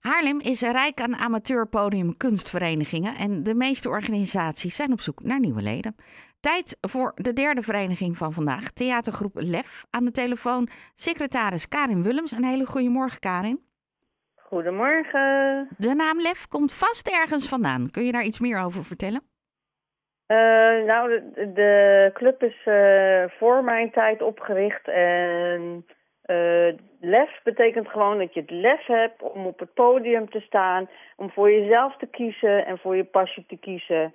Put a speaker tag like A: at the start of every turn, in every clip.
A: Haarlem is rijk aan amateurpodium kunstverenigingen en de meeste organisaties zijn op zoek naar nieuwe leden. Tijd voor de derde vereniging van vandaag, theatergroep Lef. Aan de telefoon secretaris Karin Willems. Een hele goede morgen, Karin.
B: Goedemorgen.
A: De naam Lef komt vast ergens vandaan. Kun je daar iets meer over vertellen?
B: Eh, nou, de, de club is eh, voor mijn tijd opgericht en eh, lef betekent gewoon dat je het lef hebt om op het podium te staan, om voor jezelf te kiezen en voor je passie te kiezen.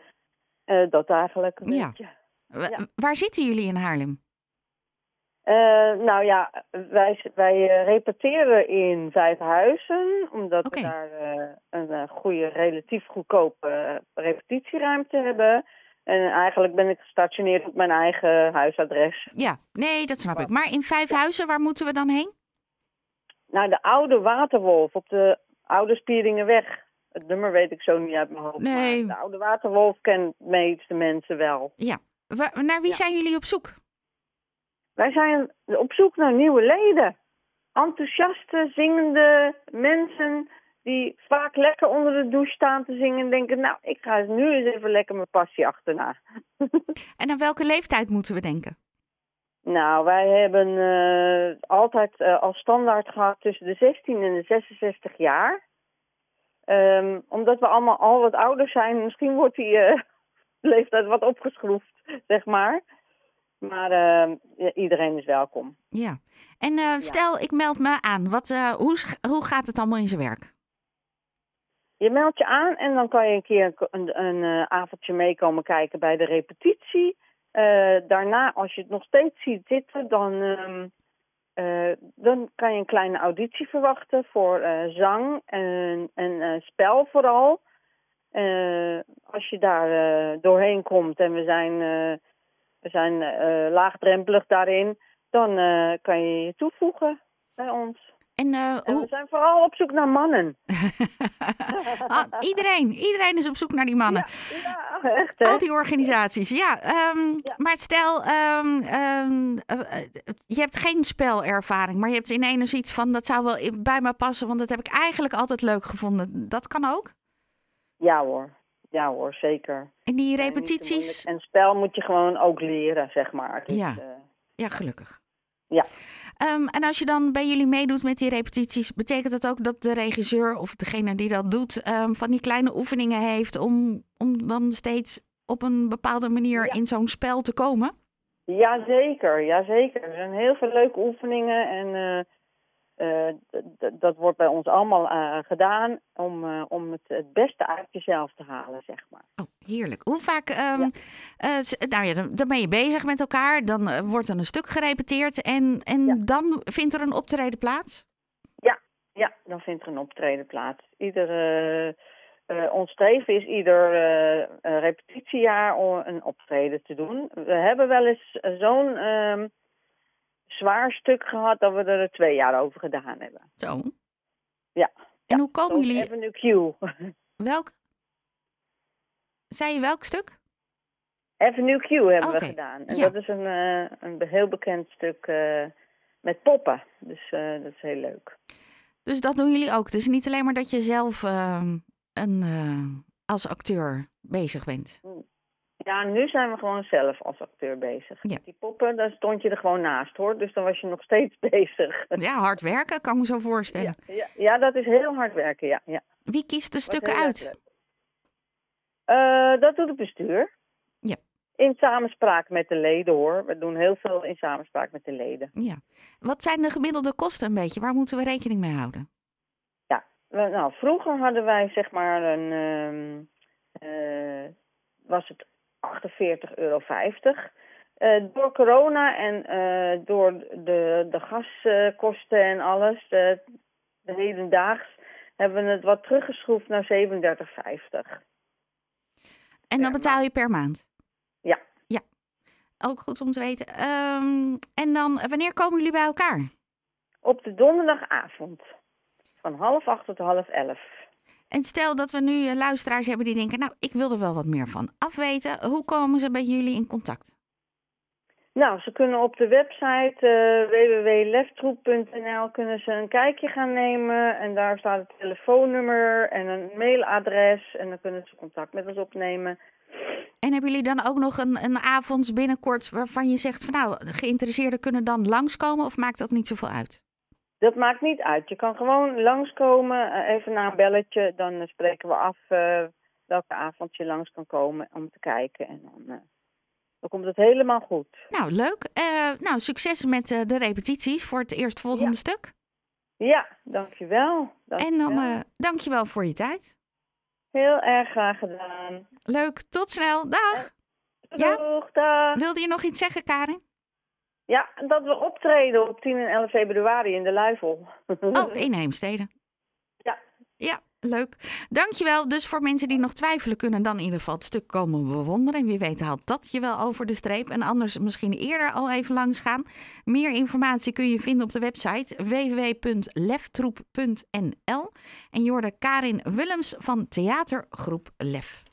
B: Eh, dat eigenlijk een
A: Ja.
B: beetje.
A: Wa-
B: Ja.
A: Waar zitten jullie in Haarlem?
B: Eh, nou ja, wij, wij eh, repeteren in Vijfhuizen, omdat
A: Oké.
B: we daar eh, een eh, goede, relatief goedkope eh, repetitieruimte hebben. En eigenlijk ben ik gestationeerd op mijn eigen huisadres.
A: Ja, nee, dat snap ik. Maar in Vijfhuizen, waar moeten we dan heen?
B: Naar de oude Waterwolf op de Oude Spieringenweg. Het nummer weet ik zo niet uit mijn hoofd.
A: Nee.
B: Maar de Oude Waterwolf kent de meeste mensen wel.
A: Wa- naar wie
B: Ja.
A: zijn jullie op zoek?
B: Wij zijn op zoek naar nieuwe leden. Enthousiaste, zingende mensen die vaak lekker onder de douche staan te zingen en denken, nou, ik ga nu eens even lekker mijn passie achterna.
A: En aan welke leeftijd moeten we denken?
B: Nou, wij hebben eh, altijd eh, als standaard gehad tussen de 16 en de 66 jaar. Ehm, omdat we allemaal al wat ouder zijn, misschien wordt die eh, leeftijd wat opgeschroefd, zeg maar. Maar eh, ja, iedereen is welkom.
A: Ja. En eh, stel, ik meld me aan. Wat, eh, hoe, sch- hoe gaat het allemaal in zijn werk?
B: Je meldt je aan en dan kan je een keer een, een eh, avondje meekomen kijken bij de repetitie. Eh, daarna, als je het nog steeds ziet zitten, dan, ehm, eh, dan kan je een kleine auditie verwachten voor eh, zang en, en eh, spel vooral. Eh, als je daar eh, doorheen komt en we zijn, eh, we zijn eh, laagdrempelig daarin, dan eh, kan je je toevoegen bij ons.
A: En, eh,
B: En we
A: hoe...
B: zijn vooral op zoek naar mannen.
A: Ah, iedereen, iedereen is op zoek naar die mannen.
B: Ja, echt hè?
A: Al die organisaties, ja. ehm,
B: Ja.
A: Maar stel, ehm, ehm, eh, eh, je hebt geen spelervaring, maar je hebt ineens iets van dat zou wel i- bij me passen, want dat heb ik eigenlijk altijd leuk gevonden. Dat kan ook.
B: Ja hoor, ja hoor, zeker.
A: En die
B: Zijn niet te
A: repetities,
B: moeilijk. En spel moet je gewoon ook leren, zeg maar. Dus,
A: Ja.
B: eh,
A: ja, gelukkig.
B: Ja.
A: Ehm, en als je dan bij jullie meedoet met die repetities, betekent dat ook dat de regisseur of degene die dat doet, ehm, van die kleine oefeningen heeft om, om dan steeds op een bepaalde manier
B: Ja.
A: in zo'n spel te komen?
B: Jazeker, jazeker. Er zijn heel veel leuke oefeningen en eh, eh, d- d- dat wordt bij ons allemaal eh, gedaan om, eh, om het, het beste uit jezelf te halen, zeg maar.
A: Oh, heerlijk. Hoe vaak, ehm, eh, s- nou ja, dan, dan ben je bezig met elkaar, dan eh, wordt dan een stuk gerepeteerd en, en
B: Ja.
A: dan vindt er een optreden plaats?
B: Ja, dan vindt er een optreden plaats. Ieder, eh, eh, ons streven is ieder eh, eh, repetitiejaar om een optreden te doen. We hebben wel eens eh, zo'n ehm, zwaar stuk gehad dat we er twee jaar over gedaan hebben.
A: Zo.
B: Ja.
A: En
B: Ja,
A: hoe komen
B: Zoals
A: Oh, jullie,
B: Avenue Q.
A: welk? Zei je welk stuk?
B: Avenue Q hebben
A: Oké,
B: we gedaan. En
A: ja.
B: dat is een, eh, een be- heel bekend stuk eh, met poppen. Dus eh, dat is heel leuk.
A: Dus dat doen jullie ook. Dus niet alleen maar dat je zelf ehm, een, eh, als acteur bezig bent.
B: Ja, nu zijn we gewoon zelf als acteur bezig.
A: Ja.
B: Die poppen, daar stond je er gewoon naast hoor. Dus dan was je nog steeds bezig.
A: Ja, hard werken, kan ik me zo voorstellen.
B: Ja, ja, ja, dat is heel hard werken, ja. ja.
A: Wie kiest de
B: Was
A: stukken
B: heel erg
A: uit?
B: leuk. Eh, dat doet het bestuur.
A: Ja.
B: In samenspraak met de leden hoor. We doen heel veel in samenspraak met de leden.
A: Ja. Wat zijn de gemiddelde kosten een beetje? Waar moeten we rekening mee houden?
B: We- nou, vroeger hadden wij zeg maar een... ehm, eh, was het 48,50 euro. Eh, door corona en eh, door de, de gaskosten en alles, de, de hedendaags, hebben we het wat teruggeschroefd naar 37,50.
A: En dan
B: Per
A: betaal je per maand?
B: Ja.
A: Ja, ook goed om te weten. Ehm, en dan, eh, wanneer komen jullie bij elkaar?
B: Op de donderdagavond. Van half acht tot half elf.
A: En stel dat we nu eh, luisteraars hebben die denken, nou, ik wil er wel wat meer van afweten. Hoe komen ze bij jullie in contact?
B: Nou, ze kunnen op de website eh www.leftroep.nl kunnen ze een kijkje gaan nemen. En daar staat het telefoonnummer en een mailadres. En dan kunnen ze contact met ons opnemen.
A: En hebben jullie dan ook nog een, een avond binnenkort waarvan je zegt van nou, geïnteresseerden kunnen dan langskomen of maakt dat niet zoveel uit?
B: Dat maakt niet uit. Je kan gewoon langskomen, eh, even na een belletje. Dan eh, spreken we af eh, welke avond je langs kan komen om te kijken. En dan, eh, dan komt het helemaal goed.
A: Nou, leuk. Eh, nou, succes met eh, de repetities voor het eerstvolgende stuk.
B: Ja, dankjewel.
A: En dan
B: Dankjewel.
A: eh dankjewel voor je tijd.
B: Heel erg graag gedaan.
A: Leuk, tot snel. Dag. Ja.
B: Doeg, dag.
A: Wilde je nog iets zeggen, Karin?
B: Ja, dat we optreden op 10 en 11 februari in de Luifel.
A: Oh, in Heemstede.
B: Ja.
A: Ja, leuk. Dankjewel. Dus voor mensen die nog twijfelen, kunnen dan in ieder geval het stuk komen bewonderen. En wie weet haalt dat je wel over de streep. En anders misschien eerder al even langs gaan. Meer informatie kun je vinden op de website www.leftroep.nl. En je hoorde Karin Willems van theatergroep Lef.